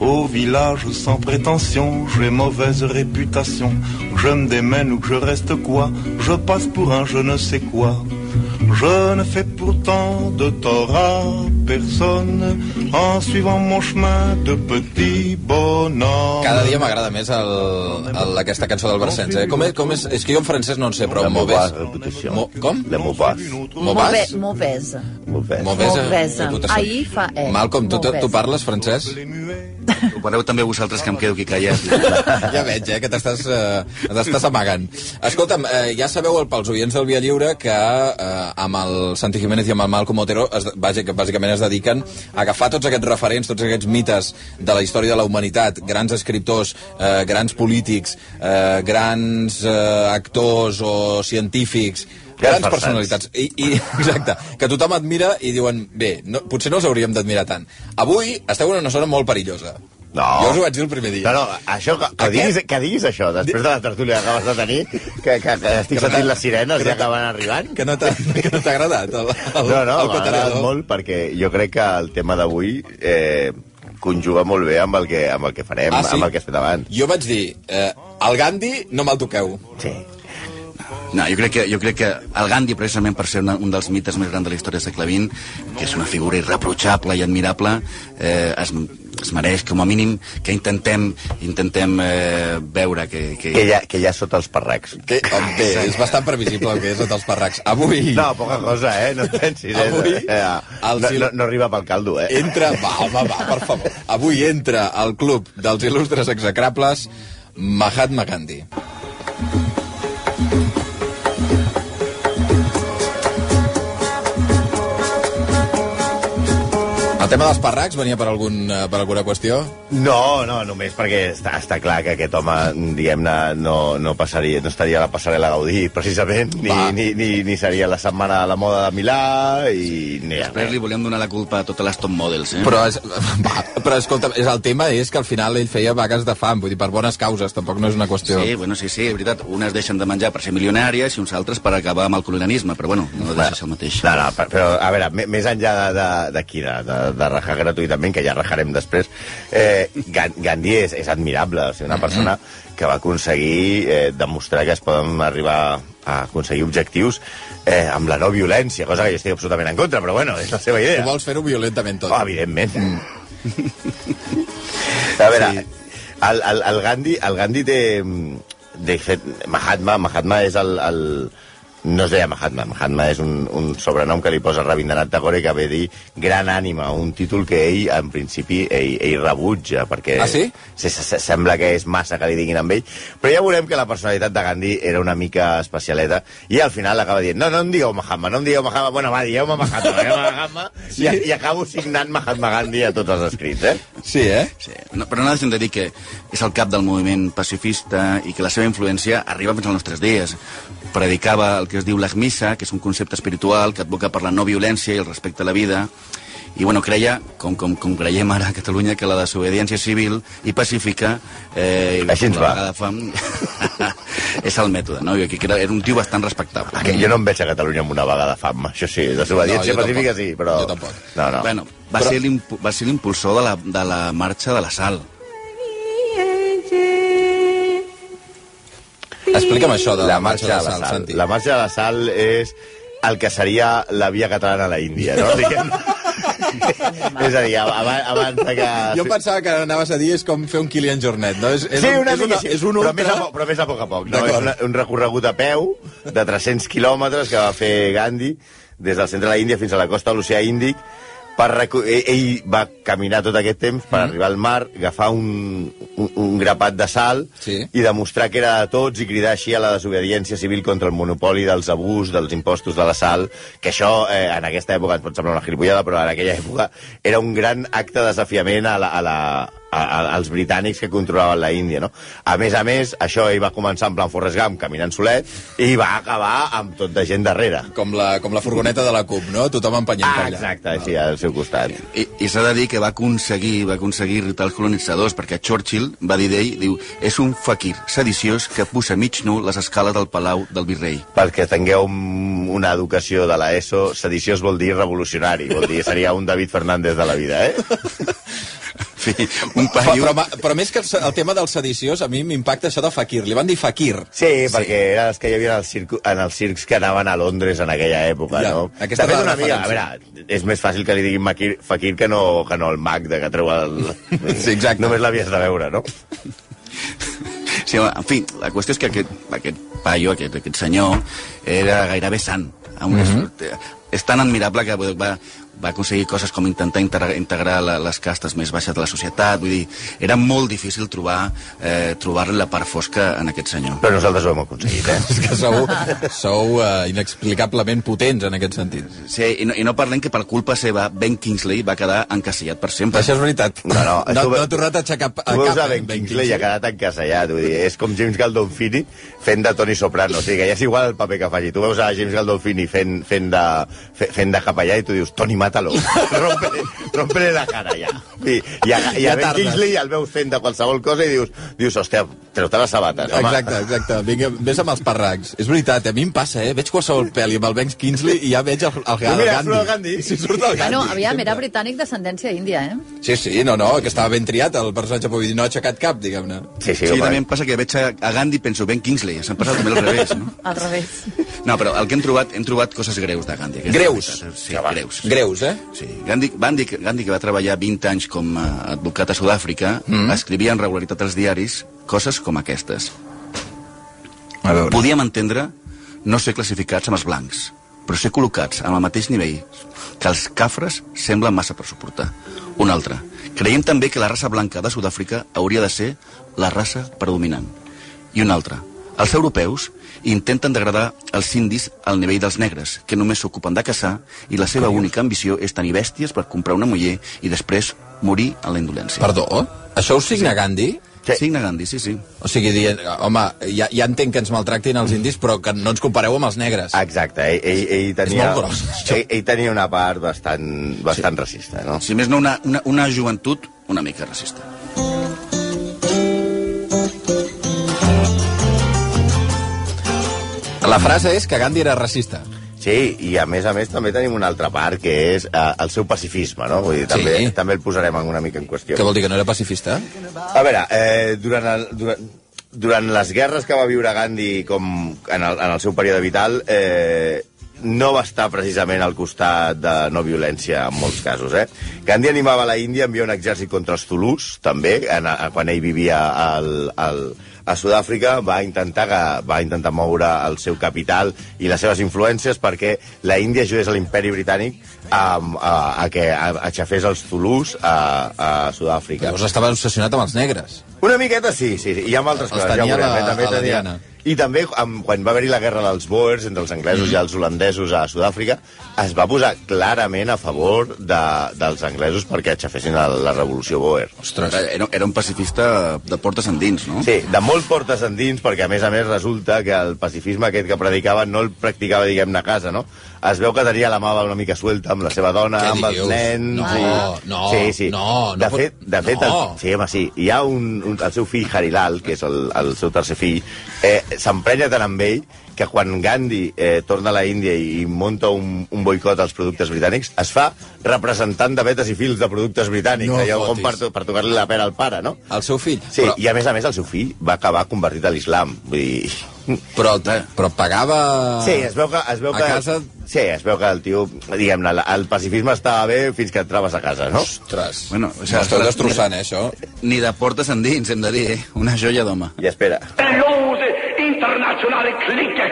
Au village sans prétention, j'ai mauvaise réputation. Je me démène ou que je reste quoi, je passe pour un je ne sais quoi. Je ne fais pourtant de tort à personne en suivant mon chemin de petit bonhomme. Cada dia m'agrada més el, el, aquesta cançó del Vercens, eh? Com és, com és, és que jo en francès no en sé, però La Mauvais... mauvaise réputation. Mo, com? La mauvaise. Mauvais? Mauve- Mauvaise. Mauvaise. Mauvais. Mauvaise. Ahir fa E. tota Malcom, tu, tu, tu Mauvaise. parles francès? Ho pareu també vosaltres, que em quedo aquí callat. Ja veig, eh, que t'estàs eh, t'estàs amagant. Escolta'm, eh, ja sabeu el- pels oients del Via Lliure que eh, amb el Santi Jiménez i amb el Malcom Otero es, bàsic, bàsicament es dediquen a agafar tots aquests referents, tots aquests mites de la història de la humanitat, grans escriptors, eh, grans polítics, eh, grans eh, actors o científics, Grans grans personalitats. I, i, exacte, que tothom admira i diuen, bé, no, potser no els hauríem d'admirar tant. Avui esteu en una zona molt perillosa. No. Jo us ho vaig dir el primer dia. No, no, això, que, que, Aquest- diguis, que diguis això, després de la tertúlia que acabes de tenir, que, que, que estic sentint les sirenes ja que van arribant. que no t'ha que no t'ha agradat el, el, No, no, el m'ha agradat cotarello. molt perquè jo crec que el tema d'avui eh, conjuga molt bé amb el que, amb el que farem, Ah, sí? amb el que has fet abans. Jo vaig dir, eh, el Gandhi no me'l toqueu. Sí. No, jo crec que, jo crec que el Gandhi, precisament per ser una, un dels mites més grans de la història del segle XX, que és una figura irreprotxable i admirable, eh, es, es mereix, com a mínim, que intentem, intentem eh, veure que... que... Que ja, que ja sota els parracs. Que, oh, bé, és bastant previsible el que és sota els parracs. Avui No, poca cosa, eh? No et pensis, eh? Avui, eh el no, Sil- no, no arriba pel caldo, eh? entra... Va, home, va, per favor. Avui entra al club dels il·lustres execrables Mahatma Gandhi. El tema dels parracs venia per, algun, eh, per alguna qüestió? No, no, només perquè està, està clar que aquest home, diguem-ne, no, no, passaria, no estaria a la passarel·la Gaudí, precisament, ni, Va. ni, ni, ni seria la setmana de la moda de Milà, i ni a Després res. li volem donar la culpa a totes les top models, eh? Però, és, va, però escolta, és, el tema és que al final ell feia vagues de fam, vull dir, per bones causes, tampoc no és una qüestió. Sí, bueno, sí, sí, és veritat. Unes deixen de menjar per ser milionàries i uns altres per acabar amb el colonialisme, però bueno, no deixa de ser el mateix. No, no, per- però, a veure, me- més enllà de- de- d'aquí, de, de, de, de rajar gratuïtament, que ja rajarem després, eh, Gan- Gandhi és, és admirable, o sigui, Mhm. una persona que va aconseguir eh, demostrar que es poden arribar a aconseguir objectius eh, amb la no violència, cosa que jo estic absolutament en contra, però bueno, és la seva idea. Tu vols fer-ho violentament tot. Oh, evidentment. Mm. A veure, el, el, el, Gandhi, el Gandhi té... mm, De fet, Mahatma, Mahatma és el, el... No es deia Mahatma, Mahatma és un, un sobrenom que li posa Rabindranath Tagore que ve a dir gran ànima, un títol que ell, en principi, ell, ell rebutja, perquè Ah, sí? se, se, se, sembla que és massa que li diguin amb ell, però ja veurem que la personalitat de Gandhi era una mica especialeta, i al final acaba dient, no, no em digueu Mahatma, no em digueu Mahatma, bueno, va, digueu-me Mahatma, digueu Mahatma, sí? i, i acabo signant Mahatma Gandhi a tots els escrits, eh? Sí, eh? Sí. No, però no deixem de dir que és el cap del moviment pacifista i que la seva influència arriba fins als nostres dies. Predicava el que es diu l'Agmissa, que és un concepte espiritual que advoca per la no violència i el respecte a la vida, i bueno, creia, com, com, com creiem ara a Catalunya, que la desobediència civil i pacífica... Eh, i Així ens la va. vegada Fam, és el mètode, no? Jo crec que era, era un tio bastant respectable. Que jo no em veig a Catalunya amb una vaga de fam, això sí, No, desobediència jo no, pacífica tampoc. sí, però... Jo tampoc. No, no. Bueno, va, Però- ser l'impu- va ser l'impulsor de, la, de la marxa de la sal. Explica'm això de la, marxa de la sal. Santi. La marxa de la sal és el que seria la via catalana a la Índia, no? Diguem. és a dir, abans, abans de que... Jo pensava que anaves a dir és com fer un Kilian Jornet, no? És, és sí, un, una és, una, mica sí, és un però, més ultra... a, po- però més a poc a poc. No? D'acord. És una, un recorregut a peu de 300 quilòmetres que va fer Gandhi des del centre de l'Índia fins a la costa de l'oceà Índic. Per recu... ell, ell va caminar tot aquest temps Mm. per arribar al mar, agafar un, un, un grapat de sal Sí. i demostrar que era de tots i cridar així a la desobediència civil contra el monopoli dels abús, dels impostos de la sal, que això eh, en aquesta època ens pot semblar una gilipollada, però en aquella època era un gran acte de desafiament a la, a la, a, a, als britànics que controlaven la Índia, no? A més a més, això ell va començar en plan Forrest Gump, caminant solet, i va acabar amb tot de gent darrere. Com la, com la furgoneta de la CUP, no? Tothom empenyent Ah, per allà. exacte, així, al seu costat. I, i s'ha de dir que va aconseguir, va aconseguir irritar els colonitzadors, perquè Churchill va dir d'ell, diu, és un faquir sediciós que puja mig nu les escales del palau del virrei. perquè tingueu un- una educació de l'ESO, sediciós vol dir revolucionari, vol dir seria un David Fernández de la vida, eh? fer un Però, paio... però, ma- però més que el, se- el tema dels sediciós, a mi m'impacta això de Fakir. Li van dir Fakir. Sí, perquè eren els que hi havia en, el circo, en els circs que anaven a Londres en aquella època, Ja, ja, no? aquesta de era la fet, una mica, a referència. veure, és més fàcil que li diguin Maquir, Fakir que no, que no el mag de que treu el... Sí, exacte. Només l'havies de veure, no? Sí, home, en fi, la qüestió és que aquest, aquest paio, aquest, aquest senyor, era gairebé sant. Mhm. Amb una sort, eh, és tan admirable que va, va aconseguir coses com intentar integrar, integrar la, les castes més baixes de la societat. Vull dir, era molt difícil trobar eh, trobar la part fosca en aquest senyor. Però nosaltres ho hem aconseguit, eh? És que sou, sou uh, inexplicablement potents en aquest sentit. Sí, i no, i no parlem que per culpa seva Ben Kingsley va quedar encasillat per sempre. Això és veritat. No, no, no, tu no ve- ha tornat a aixecar a Tu veus cap. a Ben Kingsley i ha quedat encasellat, vull dir, és com James Gandolfini fent de Tony Soprano, o sigui que ja és igual el paper que faci. Tu veus a James Gandolfini fent, fent, de, fe- fent de capellà i tu dius, Tony, mata-lo, rompe-li rompe la cara ja. I, i, a, i a Ja Ben tardes. Kingsley el veus fent de qualsevol cosa i dius, dius hòstia, treu-te les sabates, home. Exacte, exacte. Vinga, vés amb els parracs. És veritat, a mi em passa, eh? Veig qualsevol pel·li amb el Ben Kingsley i ja veig el, el, el, Tu Gandhi. mira, surt el Gandhi. Sí, surt el Gandhi. Bueno, aviam, sempre. era britànic d'ascendència índia, eh? Sí, sí, no, no, que estava ben triat el personatge, vull dir, no ha aixecat cap, diguem-ne. Sí, sí, Sí, home. també em passa que veig a, a Gandhi i penso Ben Kingsley, s'han passat també al revés, no? Al revés. No, però el que hem trobat, hem trobat coses greus de Gandhi. aquesta Greus? és la veritat. Sí, greus. sí. Greus, eh? Sí. Gandhi, Gandhi, Gandhi, que va treballar 20 anys com a advocat a Sud-àfrica, mm. escrivia en regularitat als diaris coses com aquestes. A veure. Podíem entendre no ser classificats amb els blancs, però ser col·locats en el mateix nivell que els cafres sembla massa per suportar. Un altre. Creiem també que la raça blanca de Sud-àfrica hauria de ser la raça predominant. I un altre. Els europeus intenten degradar els indis al nivell dels negres, que només s'ocupen de caçar i la seva única ambició és tenir bèsties per comprar una muller i després morir en la indolència. Perdó? Això ho signa Gandhi? Sí. Signa Gandhi, sí, sí. O sigui, dient, home, ja, ja entenc que ens maltractin els indis, però que no ens compareu amb els negres. Exacte, ell, ell, ell tenia... molt gros, això. ell, ell tenia una part bastant, bastant sí. racista, no? Si més no, una, una, una joventut una mica racista. La frase és que Gandhi era racista. Sí, i a més a més també tenim una altra part, que és eh, el seu pacifisme, no? Vull dir, també, Sí. també el posarem una mica en qüestió. Què vol dir, que no era pacifista? A veure, eh, durant, el, durant, durant les guerres que va viure Gandhi com en, el, en el seu període vital, eh, no va estar precisament al costat de no violència en molts casos. Eh? Gandhi animava la Índia a enviar un exèrcit contra els Toulouse, també, en, a, quan ell vivia al, al, a Sud-àfrica, va intentar, que, va intentar moure el seu capital i les seves influències perquè la Índia ajudés a l'imperi britànic a, a, a que a- aixafés els Toulouse a, a Sud-àfrica. Llavors estava obsessionat amb els negres. Una miqueta sí, sí, sí. i amb altres Els coses. tenia ja ho veurem, la- eh? també a la tenia... Diana. I també, amb, quan va haver-hi la guerra dels Boers entre els anglesos i els holandesos a Sud-àfrica, es va posar clarament a favor de, dels anglesos perquè aixafessin la, la revolució Boer. Ostres. Eh, Era, era un pacifista de portes endins, no? Sí, de molt portes endins, perquè a més a més resulta que el pacifisme aquest que predicava no el practicava, diguem-ne, a casa, no? Es veu que tenia la mà una mica suelta amb la seva dona, Què amb dius? els nens... No, i... no, sí, sí. no, no de pot- fet, de fet no. el, sí, home, sí. Hi ha un, un, el seu fill, Harilal, que és el, el seu tercer fill, eh, s'emprenya tant amb ell que quan Gandhi eh, torna a la Índia i, i munta un, un boicot als productes britànics, es fa representant de vetes i fils de productes britànics, No allò com fotis. per, to- per tocar-li la pera al pare, no? El seu fill. Sí, Però, i a més a més el seu fill va acabar convertit a l'islam. Vull dir... però, el, però pagava... Sí, es veu que... Es veu Ah. a que... casa- Sí, es veu que el tio... Diguem-ne, la- el pacifisme estava bé fins que entraves a casa, no? Ostres. Bueno, o sigui, M'esteu la- destrossant, eh, això. Ni de portes endins, hem de dir, eh? Una joia d'home. I espera. lose internationale Clique,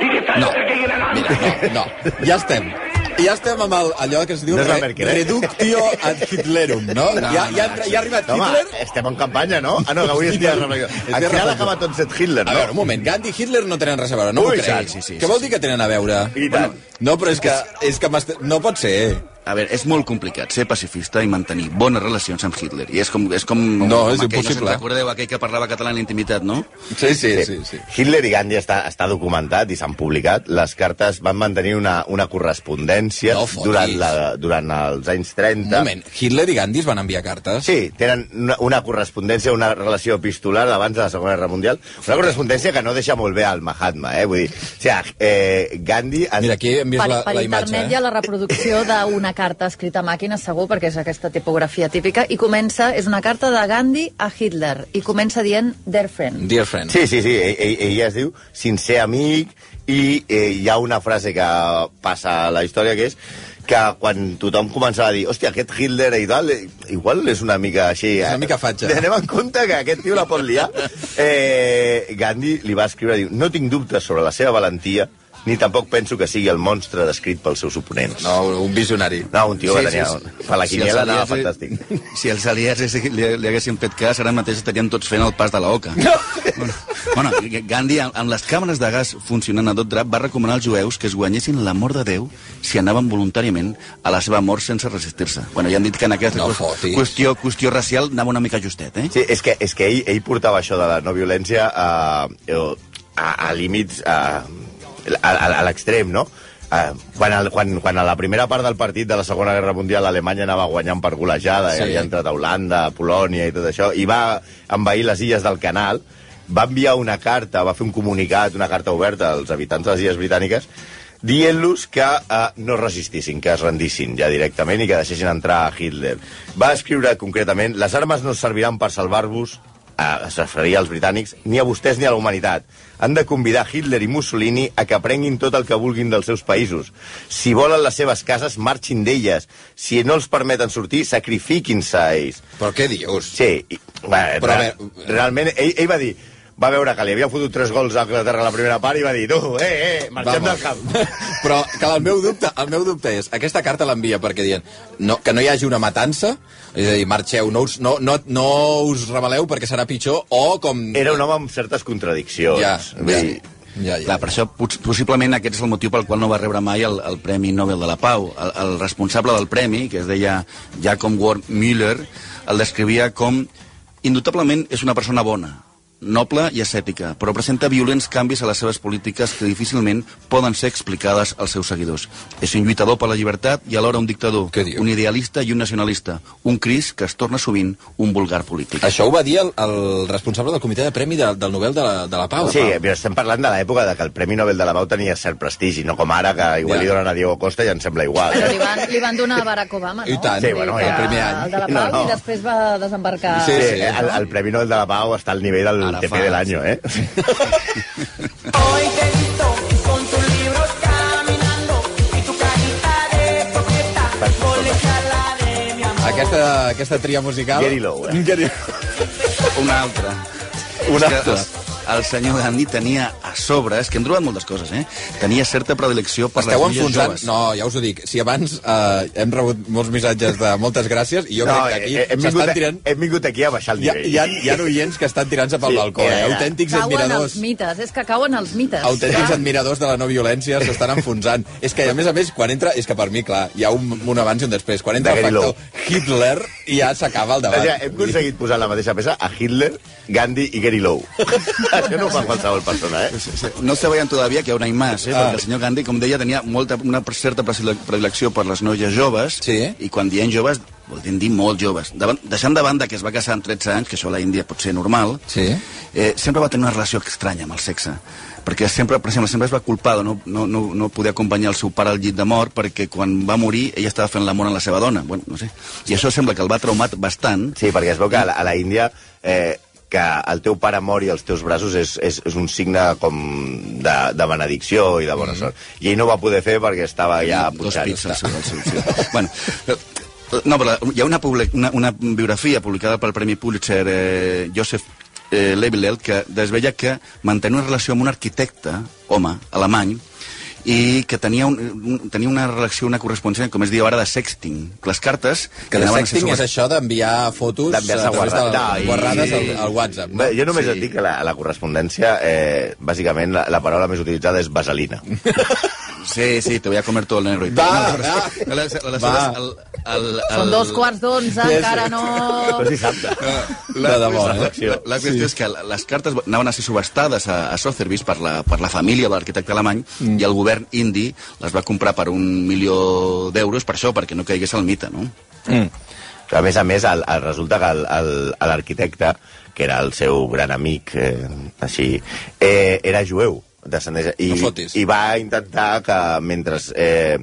die die No, Völker gegeneinander mira, no, no. Ja estem. Ja estem amb el, allò que es diu No és la re- Merkel, eh? Reductio ad Hitlerum, no? No, ja, ja, no, ja, ja ha arribat Home, Hitler... estem en campanya, no? Ah, no, que avui és dia de reflexió. És dia de Al final reflexió. acaba tot set Hitler, A no? veure, un moment, Gandhi i Hitler no tenen res a veure, no Ui, m'ho crec. sí, sí, sí, Què vol dir que tenen a veure? I tant. No, però és que, és que m'est- no pot ser. A veure, és molt complicat ser pacifista i mantenir bones relacions amb Hitler. I és com... És com No, és com aquell, impossible. No se'n recordeu aquell que parlava català en la intimitat, no? Sí, sí, sí. sí. Hitler i Gandhi està, està documentat i s'han publicat. Les cartes van mantenir una, una correspondència No fotis. durant, la, durant els anys 30. Un moment, Hitler i Gandhi es van enviar cartes? Sí, tenen una, una correspondència, una relació epistolar abans de la Segona Guerra Mundial. Una correspondència que no deixa molt bé al Mahatma, eh? Vull dir, o sigui, eh, Gandhi... Mira, aquí hem vist Per, la, per la internet imatge. eh? hi ha la reproducció d'una carta escrita a màquina, segur, perquè és aquesta tipografia típica, i comença, és una carta de Gandhi a Hitler, i comença dient their friend. eh? Dear friend. Sí, sí, sí, ell, ell, ella es diu sincer amic i eh, hi ha una frase que passa a la història que és que quan tothom començava a dir hòstia, aquest Hitler i tal, eh, igual és una mica així... És una eh, mica fatxa." Anem en compte que aquest tio la pot liar. Eh, Gandhi li va escriure, diu, no tinc dubtes sobre la seva valentia, ni tampoc penso que sigui el monstre descrit pels seus oponents. No, un visionari. No, un tio que tenia... Per la els quiniela anava aliats li- fantàstic. Si els aliats li, li, li haguessin fet cas, ara mateix estaríem tots fent el pas de la oca. No. Bueno, bueno, Gandhi, amb, amb les càmeres de gas funcionant a tot drap, va recomanar als jueus que es guanyessin l'amor de Déu si anaven voluntàriament a la seva mort sense resistir-se. Bueno, ja han dit que en aquesta No qües- fotis. qüestió, qüestió racial anava una mica justet, eh? Sí, és que, és que ell, ell portava això de la no violència a, a, a límits a, a, a, a l'extrem, no? Uh, quan, el, quan, quan a la primera part del partit de la Segona Guerra Mundial Alemanya anava guanyant per golejada, Sí. sí. eh? havia entrat a Holanda, a Polònia i tot això, i va envair les illes del canal, va enviar una carta, va fer un comunicat, una carta oberta als habitants de les illes britàniques, dient-los que eh, no resistissin, que es rendissin ja directament i que deixessin entrar a Hitler. Va escriure concretament les armes no serviran per salvar-vos eh, es referia als britànics, ni a vostès ni a la humanitat. Han de convidar Hitler i Mussolini a que prenguin tot el que vulguin dels seus països. Si volen les seves cases, marxin d'elles. Si no els permeten sortir, sacrifiquin-se a ells. Però què dius? Sí, i, bueno, Però, Però, a re, veure- realment, ell, ell va dir va veure que li havia fotut tres gols a Anglaterra a la primera part i va dir, tu, eh, eh, marxem Vamos. del camp. Però que el meu dubte, el meu dubte és, aquesta carta l'envia perquè dient no, que no hi hagi una matança, és a dir, marxeu, no us, no, no, no us rebel·leu perquè serà pitjor, o com... Era un home amb certes contradiccions. Ja, Vull ja, dir, ja, Clar, ja. per això pots- possiblement aquest és el motiu pel qual no va rebre mai el, el Premi Nobel de la Pau. El, el responsable del premi, que es deia Jacob Ward Müller, el descrivia com indubtablement és una persona bona, noble i ascètica, però presenta violents canvis a les seves polítiques que difícilment poden ser explicades als seus seguidors. És un lluitador per la llibertat i alhora un dictador, Què diu? un idealista i un nacionalista, un cris que es torna sovint un vulgar polític. Això ho va dir el, el responsable del comitè de premi de, del Nobel de la, de la Pau. Sí, però estem parlant de l'època de que el Premi Nobel de la Pau tenia cert prestigi, no com ara, que igual Ja. li donen a Diego Costa i em sembla igual. eh? Bueno, li van, li van donar a Barack Obama, no? I tant, Sí, bueno, Vull dir ja. que el primer any. El de la No, Pau, no. i després va desembarcar... Sí, Sí, sí. el, el Premi Nobel de la Pau està al nivell del Ara TP fa- de l'any, eh? Hoy te vi con tus libros caminando y tu carita de coqueta, colegiala de mi amor. Aquesta, aquesta tria musical... Gary Lowe, eh? Gary... Una altra. Una És que altra. El, el senyor Gandhi tenia a sobre, és que hem trobat moltes coses, eh? Tenia certa predilecció per Esteu les noies enfonsant... joves. No, ja us ho dic. Si abans eh, hem rebut molts missatges de moltes gràcies, i jo crec que eh, aquí hem, vingut, s'estan tirant... hem vingut aquí a baixar el Hi ha, nivell. hi, ha, hi ha oients que estan tirant-se pel Sí, balcó, eh? era. autèntics Cauen els admiradors. mites, és que cauen els mites. autèntics Ah. Clar. admiradors de la no violència s'estan enfonsant. És que, a més a més, quan entra... És que per mi, clar, hi ha un, un abans i un després. Quan entra De el Gary factor Hitler, ja s'acaba el O sigui, debat. hem aconseguit posar en la mateixa peça a Hitler, Gandhi i Gary Lowe. Això no ho fa qualsevol persona, eh? No se veien todavía que aún hay más, eh? Ah. Ah. perquè el senyor Gandhi, com deia, tenia molta, una certa predile- predilecció per les noies joves, Sí. i quan diem joves, volem dir molt joves. Davant, deixant de banda que es va casar amb 13 anys, que això a la Índia pot ser normal, Sí. eh, sempre va tenir una relació estranya amb el sexe perquè sempre, per exemple, sempre es va culpar de no, no, no, no poder acompanyar el seu pare al llit de mort perquè quan va morir ella estava fent l'amor amb la seva dona. Bueno, no sé. I això sembla que el va traumat bastant. Sí, perquè es veu que a la, a la Índia eh, que el teu pare mori als teus braços és, és, és un signe com de, de benedicció i de bona mm -hmm. sort. I ell no ho va poder fer perquè estava ja dos punxant. pits al seu, al seu, sí. bueno, eh, no, però hi ha una, public, una, una biografia publicada pel Premi Pulitzer eh, Joseph eh, Lebilel que desveia que mantenia una relació amb un arquitecte, home, alemany, i que tenia, un, un, tenia una relació, una correspondència, com es diu ara, de sexting. Que les cartes... Que de anaven a ser sexting sobre- és això d'enviar fotos a D'enviar-se través de guarrades. No, i- guarrades al, al WhatsApp. No? Bé, jo només Sí. sí. et dic que la, la correspondència, eh, bàsicament, la, la paraula més utilitzada és vaselina. Sí, sí, te voy a comer todo el negro. Va, No, va. aleshores- aleshores, Va. El, el, el, Són dos quarts d'onze, Sí, sí. encara no... Però és dissabte. De debò, eh? La, la qüestió sí. és que la- les cartes anaven a ser subestades a, a Sotheby's per la, per la família de l'arquitecte alemany mm. i el govern indi les va comprar per un milió d'euros per això, perquè no caigués el mite, no? A més a més, el, el resulta que el- el- l'arquitecte, que era el seu gran amic, eh, així, eh, era jueu. descendeix, i, No fotis. i va intentar que mentre, eh,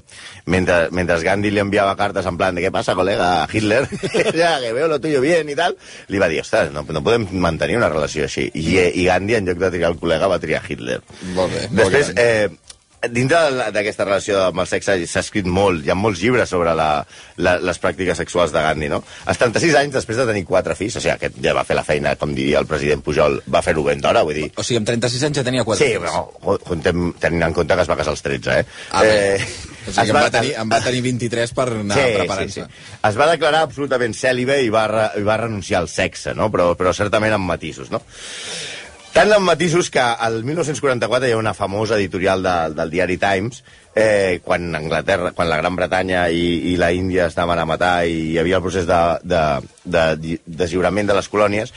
mentre, mentre Gandhi li enviava cartes en plan de què passa, col·lega, Hitler, ja, que veo lo tuyo bien i tal, li va dir, ostres, no, no podem mantenir una relació així. I, eh, I Gandhi, en lloc de triar el col·lega, va triar Hitler. Molt bé, molt Després, gran. eh, dintre de la- d'aquesta relació amb el sexe s'ha escrit molt, hi ha molts llibres sobre la, la, les pràctiques sexuals de Gandhi, no? Als 36 anys, després de tenir quatre fills, o sigui, aquest ja va fer la feina, com diria el president Pujol, va fer-ho ben d'hora, vull dir... O sigui, amb 36 anys ja tenia 4 Sí, però jo- contem, tenint en compte que es va casar als 13, eh? Ah, eh, o sigui, es en, va tenir, en va tenir 23 per anar sí, preparant-se. Sí, sí. Es va declarar absolutament cèl·libe i va, re, i va renunciar al sexe, no? però, però certament amb matisos, no? Tant amb matisos que al 1944 hi ha una famosa editorial de, del diari Times eh, quan Anglaterra, quan la Gran Bretanya i, i la Índia estaven a matar i hi havia el procés de, de, de, de deslliurament de les colònies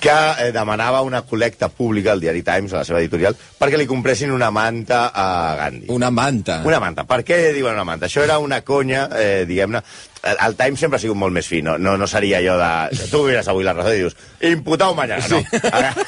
que eh, demanava una col·lecta pública al diari Times, a la seva editorial, perquè li compressin una manta a Gandhi. sí. Una manta. Ah. Una manta. Per què diuen una manta? Això era una conya, eh, diguem-ne... El, el Time sempre ha sigut molt més fi, no, no, no seria allò de... Tu mires avui la raó i dius, imputau mañana, no.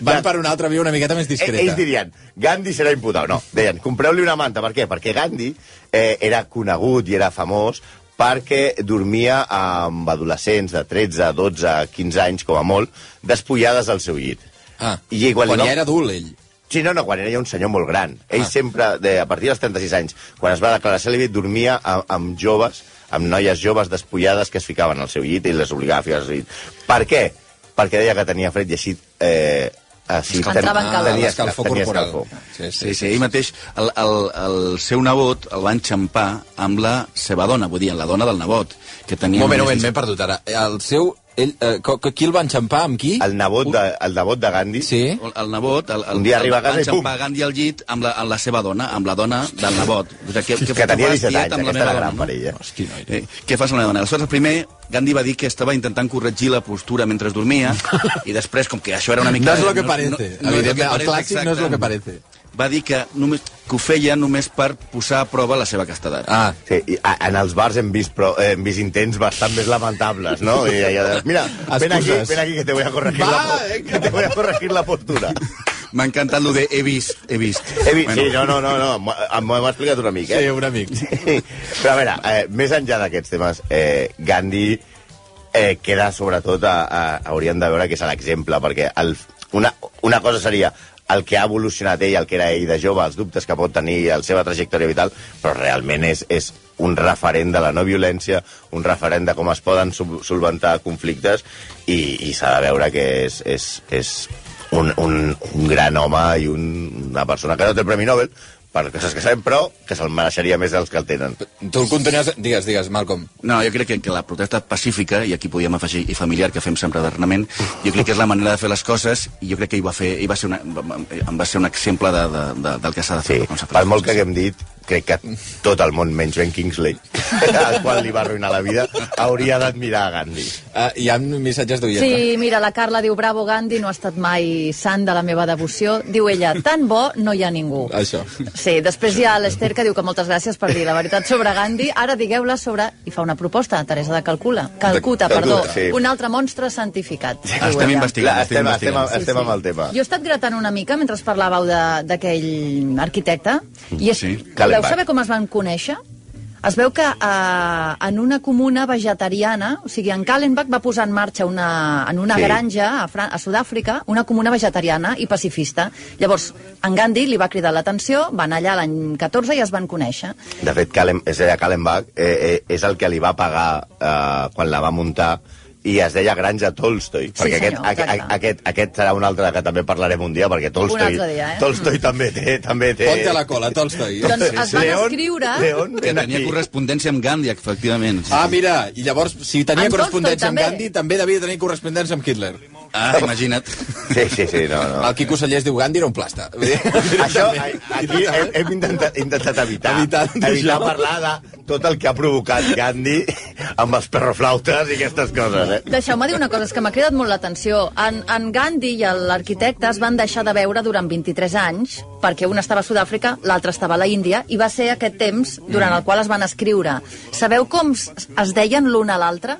Van per una altra via una miqueta més discreta. Ells dirien, Gandhi serà imputat. No, deien, compreu-li una manta. Per què? Perquè Gandhi eh, era conegut i era famós perquè dormia amb adolescents de 13, 12, 15 anys, com a molt, despullades al seu llit. Ah, I quan, quan li quan va- ja era adult, ell. Sí, no, no, quan era ja un senyor molt gran. Ell Ah. ah. sempre, de, a partir dels 36 anys, quan es va declarar cèl·libe, dormia amb, amb joves, amb noies joves despullades que es ficaven al seu llit i les obligava a ficar al seu llit. Per què? Perquè deia que tenia fred i així... Eh, així Escalfava en calor. tenia l'escalfor tenia Ah, corporal. escalfor. Sí, Sí, sí, Eh, ell mateix, el, el, el seu nebot el va enxampar amb la seva dona, vull dir, la dona del nebot, que Un tenia... moment, un només moment, m'he perdut ara. El seu... Ell, eh, co- co- qui el va enxampar? Amb qui? El nebot de, el nebot de Gandhi... Sí. El, el nebot, el, el, Un dia arriba a casa i pum! pum! Gandhi al llit amb la, amb la seva dona, amb la dona del nebot. O sigui, Que foto tenia has, 17 anys, tiet, amb la aquesta meva era gran dona, parella. Hosti, noi, eh, què fas amb la meva dona? Aleshores, primer, Gandhi va dir que estava intentant corregir la postura mentre es dormia i després, com que això era una mica... No és lo que parece. és lo Evidentment, que el parece, clàssic no és lo exacte. que parece. Va dir que, només, que ho feia només per posar a prova la seva castedat. Ah, Sí, i a, en els bars hem vist, però, eh, hem vist intents bastant més lamentables, no? I allà de, mira, ven aquí, Excuses. ven aquí que te voy a corregir, Va, la, po- eh, que te voy a corregir la postura. M'ha encantat lo de he vist, he vist. He vist, sí, no, no, no, no m'ho- m'ho hem explicat una mica, eh? sí, un amic. Però a veure, eh, més enllà d'aquests temes, eh, Gandhi eh, queda sobretot, a, a, hauríem de veure que és l'exemple, perquè el, una, una cosa seria el que ha evolucionat ell, el que era ell de jove, els dubtes que pot tenir, la seva trajectòria vital, però realment és, és un referent de la no violència, un referent de com es poden sub- solventar conflictes i, i s'ha de veure que és, és, és un, un, un gran home i un, una persona que no té el Premi Nobel per coses que sabem, però que se'l mereixeria més dels que el tenen. Tu el continues... Digues, digues, Malcolm. No, jo crec que, que la protesta pacífica, i aquí podíem afegir i familiar, que fem sempre darrerament, jo crec que és la manera de fer les coses, i jo crec que hi va, fer, hi va ser una, en va ser un exemple de, de, de, del que s'ha de Sí, fer. de com s'ha de fer per les molt que coses. haguem dit, crec que tot el món, menys Ben Kingsley, al qual li va arruïnar la vida, hauria d'admirar a Gandhi. Uh, hi ha missatges d'oients. Sí, mira, la Carla diu, bravo Gandhi, no ha estat mai sant de la meva devoció. Diu ella, tan bo no hi ha ningú. Això. Sí, després hi ha l'Ester que diu que moltes gràcies per dir la veritat sobre Gandhi. Ara digueu-la sobre... I fa una proposta, Teresa de Calcula. Calcuta, De- Calcuta, perdó. sí. Un altre monstre santificat. diu Estem ella. investigant. Clar, estem, estem, investigant. estem amb el tema. Jo he estat gratant una mica mentre parlàveu de- d'aquell arquitecte. I és, Sí. Kallenbach. Deu saber com es van conèixer? Es veu que eh, en una comuna vegetariana, o sigui, en Kallenbach va posar en marxa una, en una Sí. sí. granja a, Fran a Sud-àfrica una comuna vegetariana i pacifista. Llavors, en Gandhi li va cridar l'atenció, van allà l'any 14 i es van conèixer. De fet, Calen, és a Kallenbach eh, eh, és el que li va pagar eh, quan la va muntar i es deia Granja Tolstoi, Sí, perquè senyor, aquest, a, exacte. a, aquest, aquest serà un altre que també parlarem un dia, perquè Tolstoi, altre dia, eh? Tolstoi també té... També té... Ponte a la cola, Tolstoi. Doncs es van León- escriure... León, Que ven tenia aquí. correspondència amb Gandhi, efectivament. Sí, Ah, sí. mira, i llavors, si tenia En Tolstoi correspondència amb també. Gandhi, també devia tenir correspondència amb Hitler. ah, imagina't. Sí, sí, sí, no, no. El Quico Sallés diu Gandhi era un plasta. Això, a- aquí hem, hem intentat, intentat evitar, Evitar tot evitar això. parlar de tot el que ha provocat Gandhi amb els perroflautes i aquestes coses, eh? Deixeu-me dir una cosa, és que m'ha cridat molt l'atenció. En, en Gandhi i l'arquitecte es van deixar de veure durant 23 anys, perquè un estava a Sud-àfrica, l'altre estava a la Índia, i va ser aquest temps durant el qual es van escriure. Sabeu com s- es deien l'un a l'altre?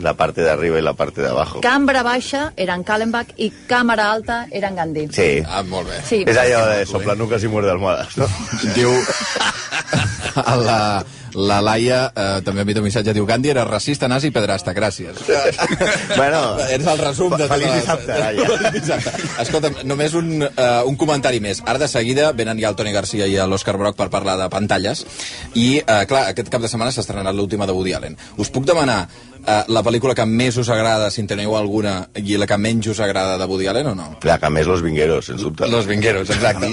La parte de arriba y la parte de abajo. Cambra baixa era en Kallenbach i càmera alta era en Gandhi. Sí. Ah, molt bé. Sí. És allò de soplanuques i muerde almohades, no? Diu... La, la Laia eh, també m'ha un missatge, diu Gandhi era racista, nazi i pedrasta, gràcies. Bueno, Ets el resum de... Feliç tota- dissabte, Laia. Feliç dissabte. Escolta'm, només un, uh, un comentari més. Ara de seguida venen ja el Toni Garcia i l'Òscar Broc per parlar de pantalles i, uh, clar, aquest cap de setmana s'ha estrenat l'última de Woody Allen. Us puc demanar uh, la pel·lícula que més us agrada, si en teniu alguna, i la que menys us agrada de Woody Allen o no? La que més los vingueros, sens dubte. Los Vingueros, exacte.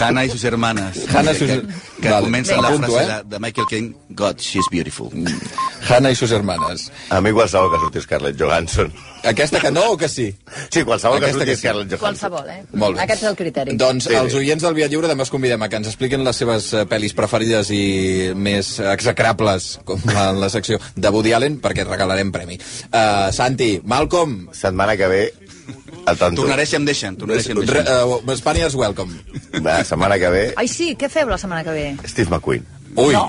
Hannah i sus hermanes. Hannah i sus- Que, que Vale, comença amb la apunto, frase eh? Mm. de, de Michael Caine, God, she's beautiful. Hannah i sus hermanes. A mi qualsevol que surti Scarlett Johansson. Aquesta que no o que sí? Sí, qualsevol Aquesta que surti que sí. Scarlett Johansson. Qualsevol, eh? Molt bé. Aquest és el criteri. Doncs Sí, sí. els oients del Via Lliure també els convidem a que ens expliquin les seves eh, pel·lis preferides i més execrables, com la, la secció de Woody Allen, perquè et regalarem premi. Uh, Santi, Malcolm, Setmana que ve, al tanto. Tornaré si em deixen, tornaré si em re, deixen. uh, Espanya és welcome. La setmana que ve, Ai, sí, què feu la setmana que ve? Steve McQueen. Ui, No.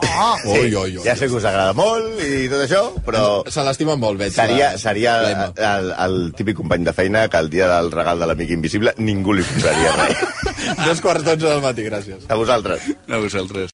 ui, ui, ui. Ja sé que us agrada molt i tot això, però... Se l'estima molt, veig. Seria, la- seria l'Emma. el, el, el típic company de feina que el dia del regal de l'amic invisible ningú li posaria res. Dos quarts d'onze del matí, gràcies. A vosaltres. A vosaltres.